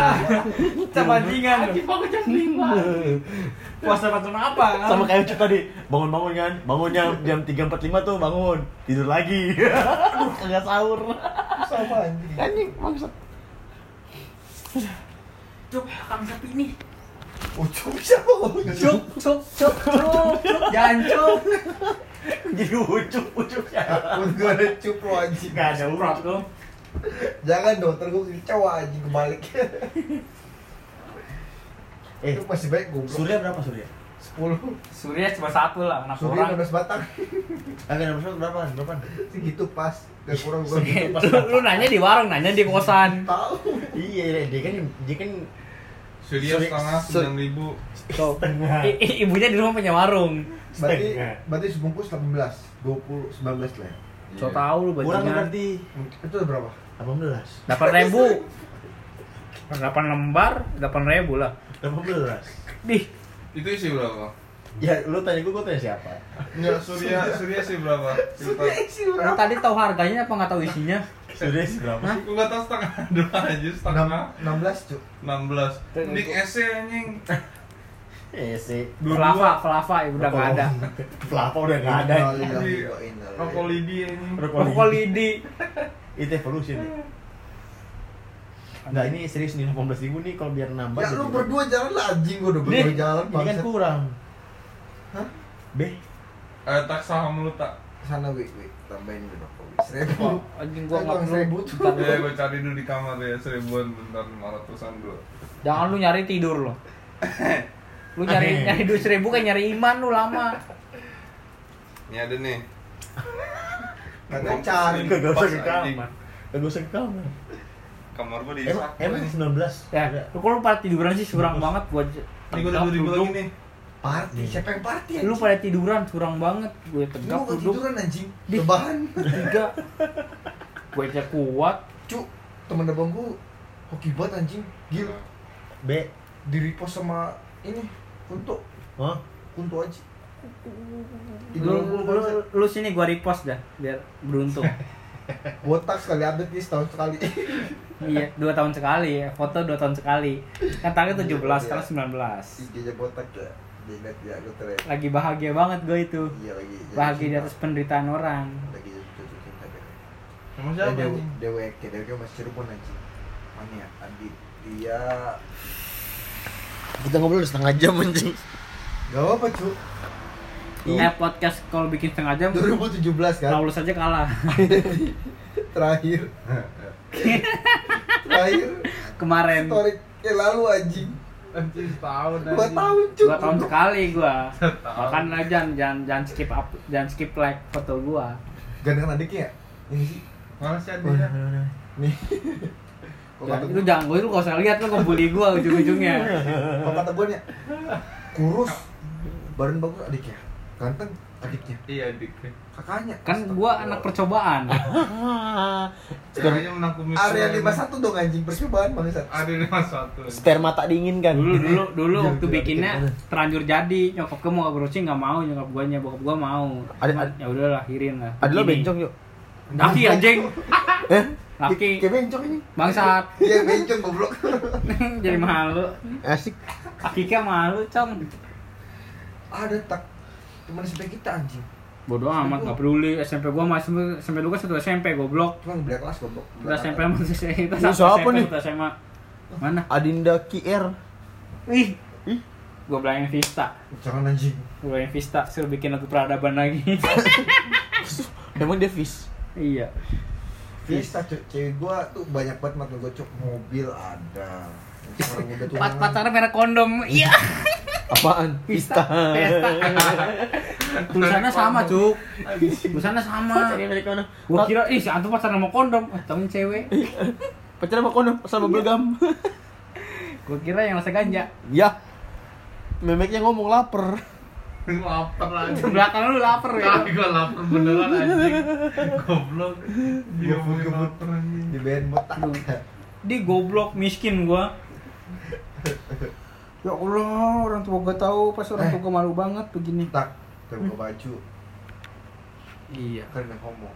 Kita bajingan.
Anjing aku jam 5.
Puasa macam apa?
sama kayak Ucup tadi bangun-bangun kan bangunnya jam 3.45 tuh bangun tidur lagi (laughs) Aduh, kagak sahur
sama anjing.
anjing maksud
Cuk, kang sapi nih.
Oh, cuk siapa ngomong?
Cuk, cuk, cuk, cuk, cuk, jangan cuk.
jadi ucup ucup ya
Takut gua ada cup lo anjing.
nggak ada urat
Tuh.
Jangan dong, ntar gua kecewa anjing kebalik.
eh
Itu masih baik goblok.
surya berapa surya
10.
Surya cuma satu lah, anak
Surya
orang.
16 batang.
agak nomor satu berapa berapa
Segitu gitu, pas. Gak
(laughs)
kurang gua. gitu.
Lu, lu nanya di warung, nanya di kosan.
Tahu.
iya dia kan dia kan
Surya
Surya-
setengah
Sur-
9000.
I- i- ibunya di rumah punya warung.
Berarti
Setengah.
berarti sebungkus 18, 20, 19 lah. ya.
Iya.
So tau lu
kurang
bajingan.
berarti
Itu ada berapa?
18
Delapan ribu. (laughs) Delapan lembar, delapan ribu lah.
18
Dih,
Itu isi berapa?
ya lu tanya gue gue tanya siapa
Enggak, Surya Surya sih berapa? Cerita.
lu tadi tahu harganya apa nggak tahu isinya?
surya sih berapa
Aku nggak tahu setengah (laughs) doang aja setengah
16, Cuk.
16 Dik SC anjing
Iya, eh sih
Dua-dua.
Flava, Flava, ya udah nggak ada.
pelapa udah nggak ada
Innalillahi wa inna
iya.
ilaihi.
Rokok lidi anjing
Rokok lidi.
itu evolusi nih Nggak, ini serius nih 18 ribu nih kalau biar nambah
Ya
jadi-
lu berdua jalan lah anjing gua udah
Nih,
berdua jalan
ini kan
bangsa.
kurang
Hah?
Beh,
Eh tak saham lu tak
Sana wi wi tambahin dulu rokok. wi. Seribu.
Wah, Anjing gua
Eh,
nggak
Bang, seribu
perlu.
tuh.
Bentar
Ya (laughs)
dulu.
gue cari dulu di kamar ya seribuan bentar 500an dulu
Jangan lu nyari tidur lo. Lu nyari nyari duit seribu kayak nyari iman lu lama.
Ini ada (laughs) nih
Kagak cari.
Kagak usah
Pas,
ke kamar.
anjing.
gak usah ke kamar
Kamar gue di
Emang, emang 19?
Ya, lu kalau pada tiduran sih surang banget gua
Ini gue udah 2000 lagi nih
Hmm.
Party, siapa yang party anjing?
Lu pada tiduran curang banget, gue tegak
Lu gak
duduk
tiduran anjing Rebahan
tiga. Gue aja kuat,
Cu, temen abang gua Hoki banget anjing Gil,
Iya.
B
di repost sama ini Kunto
Hah?
Kunto aja
lu,
Idola gua
lu,
bangsa.
lu sini gua repost dah biar beruntung
Botak sekali update nih setahun sekali (laughs)
iya dua tahun sekali ya foto dua tahun sekali kan target 17 sekarang 19
IG-nya botak ya Di net ya, lu tren
lagi bahagia banget gue itu
Iya lagi jatuh
bahagia di
cinta.
atas penderitaan orang
Lagi jatuh cinta gitu
Emang
Ya,
siapa
Dew-
anjing?
DWK, DWK masih Cirebon anjing Mana ya? Andi Dia
Kita ngobrol udah setengah jam anjing
Gak apa cu
eh podcast kalau bikin setengah jam
2017 kan?
Paulus aja kalah (laughs)
Terakhir Terakhir
kemarin
Story kayak lalu anjing
Anjing setahun
Dua tahun cu
dua tahun sekali gua
Setahun.
makan aja jangan jangan jangan skip up jangan skip like foto gua
Gandengan adiknya ya? Ini sih
Mana ya? sih adiknya?
Nih (laughs) Kok kata
Iya, Jangan-
gue
lu jangan gua lu gak usah lihat lu ngebully gua ujung-ujungnya
Kok kata gue nih Kurus Badan bagus adiknya Ganteng adiknya
Iya adiknya
Kakaknya
kan gua anak percobaan
Ah.
Caranya menakumi
Area
seorang-
51 dong anjing Percobaan bangsat
Area 51
Sperma tak diinginkan
dulu dulu dulu waktu bikinnya terlanjur jadi nyokap gue mau browsing nggak mau nyokap gue nya bokap gue mau
Ada-
Cuman,
ada-
ya udah lah akhirin lah
Ada lo
Gini.
bencong yuk
laki anjing
Eh?
Laki.
Kayak bencong ini
bangsat (laughs)
Iya bencong goblok
jadi malu
Asik
akiknya malu cong
Ada tak Teman SMP kita anjing
bodoh amat nggak peduli SMP gue masih SMP dulu kan satu SMP goblok
Cuma ngebeli kelas goblok
kita SMP masih SMP kita
Lu siapa nih?
kita SMA mana
Adinda QR
ih gue belain Vista
Jangan anjing
gue belain Vista suruh bikin lagu peradaban lagi (laughs)
Emang dia fish
iya
Vista cuy, cewek gua tuh banyak banget mata gua cuk mobil ada. Orang muda tuh
Pat pacar merek kondom iya
Apaan?
Vista Vesta tulisannya sama cuk tulisannya sama gua kira ih si antum pacaran sama kondom eh temen cewek
Pacar sama kondom sama belgam
gua kira yang rasa ganja
Iya.
Ya Memeknya ngomong lapar
Gua lapar lagi
belakang lu lapar ya
Kali gua lapar beneran anjing Goblok Dia
Gua
punya
gebut.
lapar anjing
di band botak.
di goblok miskin gua ya Allah orang tua gua tahu pas orang tua gua malu banget begini
Tak terbuka baju
iya
karena homo.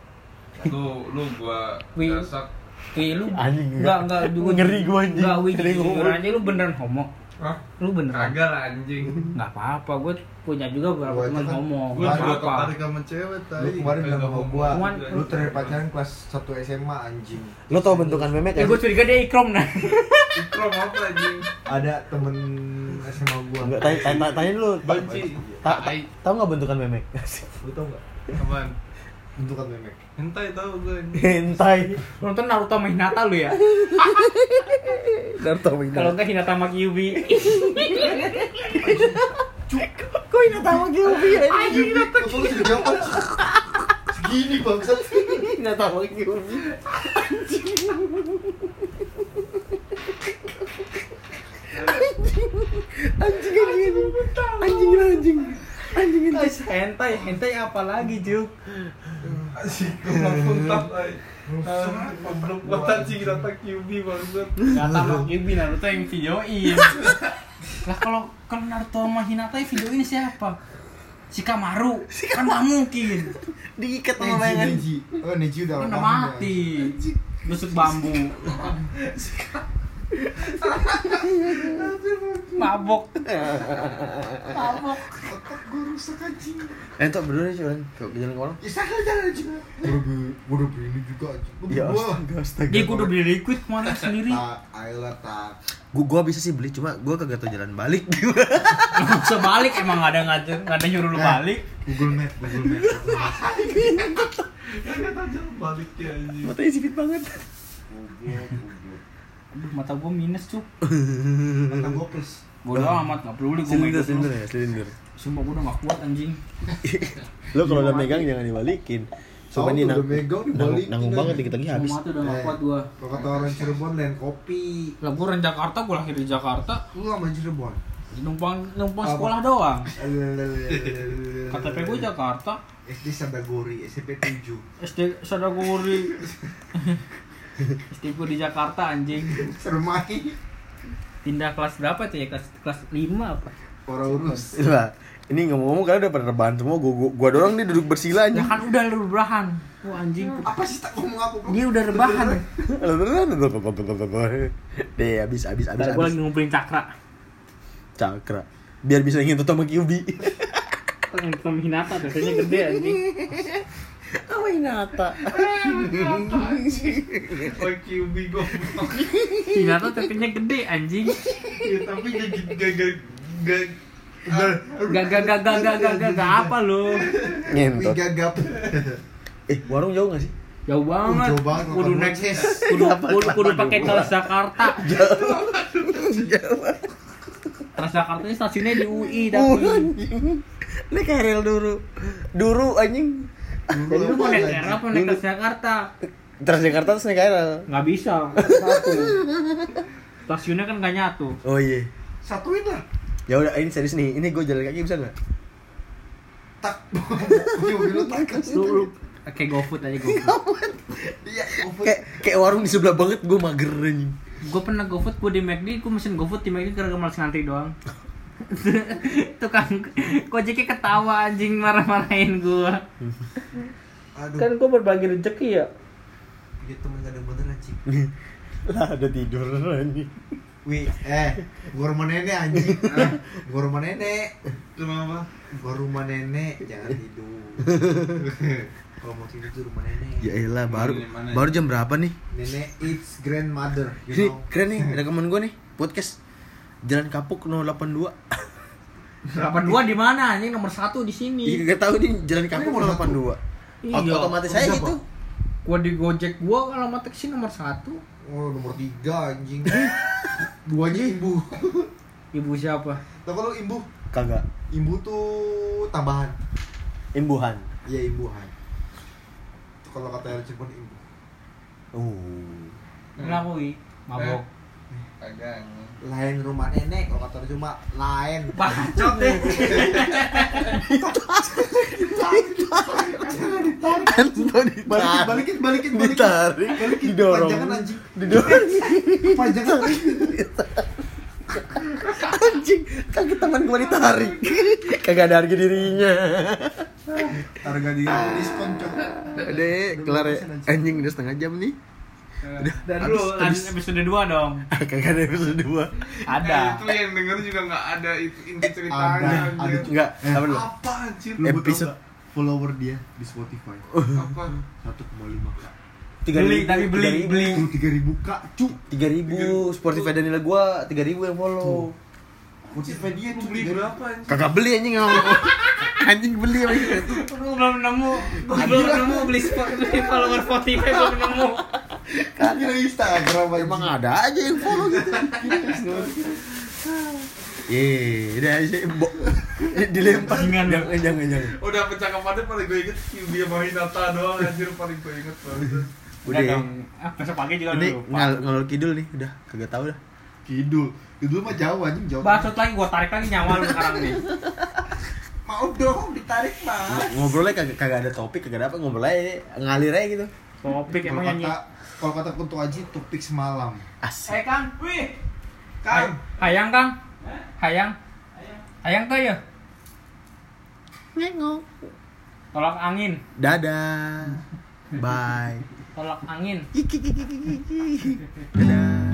Lu, lu gua
Wih.
dasar
Wih, lu
Anjing,
enggak
enggak.
enggak
Ngeri gua, anjing.
enggak wih
Ngeri gua.
jujur aja lu beneran homo
Hah?
lu beneran
Kagak lah anjing
nggak apa-apa gue punya juga
Gua
beberapa
aja
teman
kan-
homo
Gua
nggak
juga
apa-apa
tertarik sama cewek
Lu
tadi
kemarin bilang sama gua,
Cuman,
lu terakhir pacaran kelas 1 SMA anjing.
Lo tau bentukan memek
ya
ya?
gue curiga dia ikrom nah
Ikram apa anjing?
Ada temen SMA gua.
Enggak, tanya, tanya, tanya dulu Ta-
Benci
ta- ta-
Tai
Tau gak bentukan memek? (laughs)
Lu tau enggak?
Apaan?
Bentukan memek.
Hentai tau gua anjing
Hentai
Lu nonton Naruto sama Hinata lu
(laughs)
ya
Naruto Minata.
kalau enggak Hinata sama Kyuubi
Kok Hinata sama Kyuubi anjing?
Kok lu sejauh apa? Segini bangsat.
Hinata sama Kyuubi Anjing Anjing Anjing Anjing anjing Anjing anjing
hentai hentai apa lagi Juk
Asik, gua langsung tap anjing Ah, Goblok banget anjing, rata QB banget
Hinata sama Kyuubi Naruto yang (laughs) videoin lah kalau kalau Naruto sama Hinata yang videoin siapa si Kamaru kan nggak mungkin
Diikat sama
Neji,
bayangan
Neji. Oh, Neji udah
kan udah
lama
mati busuk
(laughs)
bambu mabok mabok
ya. Otak gua rusak anjing.
Eh, tok berdua deh, cuman Kok jalan ke orang?
Ya salah jalan anjing. Gua udah- gua udah begini juga anjing. Gua
Ya
berdua.
astaga, astaga
dia gue udah beli liquid kemarin sendiri
Ah.
Tak, ayolah tak.
gua, gua bisa sih beli cuma gua kagak tau jalan balik gua
Lu nggak bisa balik emang nggak ada ngajak nggak ada
Eh.
nyuruh lu balik
Google Map, Google Map.
Kagak tau jalan balik ya
(laughs)
anjing
matanya sipit banget
Aduh, mata gue minus cuk
Tentang gue plus.
bodo amat nggak perlu gue
silinder
megang
silinder ya silinder
sumpah gue udah nggak kuat anjing
lo kalau udah megang jangan dibalikin
Tahu
Sumpah ini nang-
tuh, udah megang
nanggung
dibalikin
nanggung
lagi.
banget dikit lagi Iya, habis eh.
semua tuh udah nggak kuat gue
Kalau kata orang Cirebon lain kopi.
lah gue orang Jakarta gue lahir di Jakarta
Lu lama di Cirebon.
numpang numpang
Apa?
sekolah doang KTP
KTP
gue Jakarta
SD Sadagori, SMP 7
SD
(laughs)
Sadagori SD gue di Jakarta anjing
Sermai
pindah kelas berapa tuh ya kelas kelas lima apa
Orang urus
Lah, ini ngomong-ngomong kalian udah pada rebahan semua, gua gua, gua doang nih duduk bersila
ya
anjing.
kan udah lu rebahan wah anjing
Apa sih tak ngomong aku?
dia udah rebahan
(laughs) Deh, habis habis habis
Ntar gue lagi
habis.
ngumpulin cakra
Cakra. Biar bisa ngintip sama Kyubi.
yang kita hinata biasanya gede anjing
Apa Hinata?
Oi QB goblok.
hinata tetenya gede anjing
Ya, tapi gak
gak gak
gak gak gak
gak gak gak gak gak gak apa lu
Wih
Ngentot.
gagap
Eh, warung jauh gak sih?
jauh banget
Jauh banget
kudu
makan (laughs)
naik
buncis.
kudu
Kenapa
kudu, kudu
kelapa
pakai
dua?
Trans Jakarta
Jauh.
Transjakarta ini stasiunnya di UI
Uh,
tapi
anjing. Ini kayak rel duru. Duru anjing.
Dulu
lu
apa
mau naik
lagi?
kereta apa naik Transjakarta
Transjakarta terus naik KRL.
nggak bisa satu stasiunnya kan gak nyatu
Oh iya.
Satuin lah
Ya udah ini serius nih. Ini gua jalan kaki bisa enggak?
Tak (laughs) Mobil lu tak
lu, lu kayak GoFood aja GoFood
Iya
Kayak kayak warung di sebelah banget gua mager anjing.
gue pernah GoFood gue di McD gue mesin GoFood di McD karena malas ngantri doang (laughs) tukang kojeknya ketawa anjing marah-marahin gue
Aduh
gue Kan berbagi rezeki ya
Dia temen gak ada bener anjing
lah ada tidur anjing.
Wih, eh, gua rumah nenek anjing Eh, Gua rumah nenek
Kenapa?
Gua rumah nenek, jangan tidur Kalau mau tidur tuh rumah nenek
Ya elah baru
Mana nih, mana
baru jam berapa nih?
Nenek it's grandmother,
Ini (laughs)
you know
keren nih rekaman gua nih podcast Jalan Kapuk 082.
82 di mana anjing nomor satu di sini
Iya gak tahu nih Jalan Kapuk
nomor satu.
082. Ot- otomatis saya
Siapa?
gitu.
Gua di Gojek gua alamatnya kesini nomor satu.
Oh, nomor tiga anjing Duanya imbu
Ibu siapa?
Tau kalau imbu?
Kagak.
Imbu tuh tambahan
Imbuhan.
Iya imbuhan Itu kalau kata orang Cirebon imbu
(laughs) Uh.
Hmm. Ngakui mabok.
Kagak.
Lain rumah nenek, kalau kata orang cuma lain
Bacot deh.
Anto
Balikin,
ditarik.
balikin, balikin, balikin
Ditarik.
Balikin,
Didorong.
panjangan anjing
Didorong.
Panjangan
(laughs) anjing kaki teman gua ditarik (laughs) kagak ada harga dirinya
Harga dia diskon cok
deh kelar ya. anjing udah setengah jam nih
Dan
Habis-
lu
habis.
habis episode 2 dong.
(laughs) kagak ada episode dua
Ada.
Ada. Itu gitu, yang denger juga nggak ada itu inti
Ada,
ceritanya.
ada
anjir.
enggak
Eh,
apa dulu
Apa anjir?
Lu mau tau
Episode-
nggak follower dia di Spotify
Apa?
1,5k
Beli tapi beli beli.
Tuh 3000 k cu
tiga ribu Spotify Danila gua tiga ribu yang follow
Spotify dia
Lu
cu
Iya, beli berapa anjir?
kagak beli anjing emang. (laughs) anjing beli gitu. emang.
Eh, Gua belum nemu. Gua belum nemu beli spot beli follower Spotify belum nemu.
Kira Kan Instagram
emang ada aja yang follow gitu Iya, udah aja bo- dilempar.
Jangan.
jangan, jangan, jangan.
Udah percakapannya paling gue inget QB sama Hinata doang anjir paling gue inget banget.
Udah
Udah, ya.
dong. Ah, Besok pagi juga
Ini
lu lupa.
ngal ngalor kidul nih, udah kagak tahu dah.
Kidul Kidul mah jauh anjing jauh
Bacot lagi gua tarik lagi nyawa lu sekarang nih.
Mau dong ditarik mah
ngobrolnya kagak kagak ada topik kagak ada apa ngobrol aja ngalir aja gitu
Topik
Kalau
emang nyanyi.
kata kalau kata Kunto Aji topik semalam
asik
Kang, wih.
Kang.
Hayang Kang. Hayang. Hayang tuh ya. Tolak angin.
dadah bye
Tolak angin.
dadah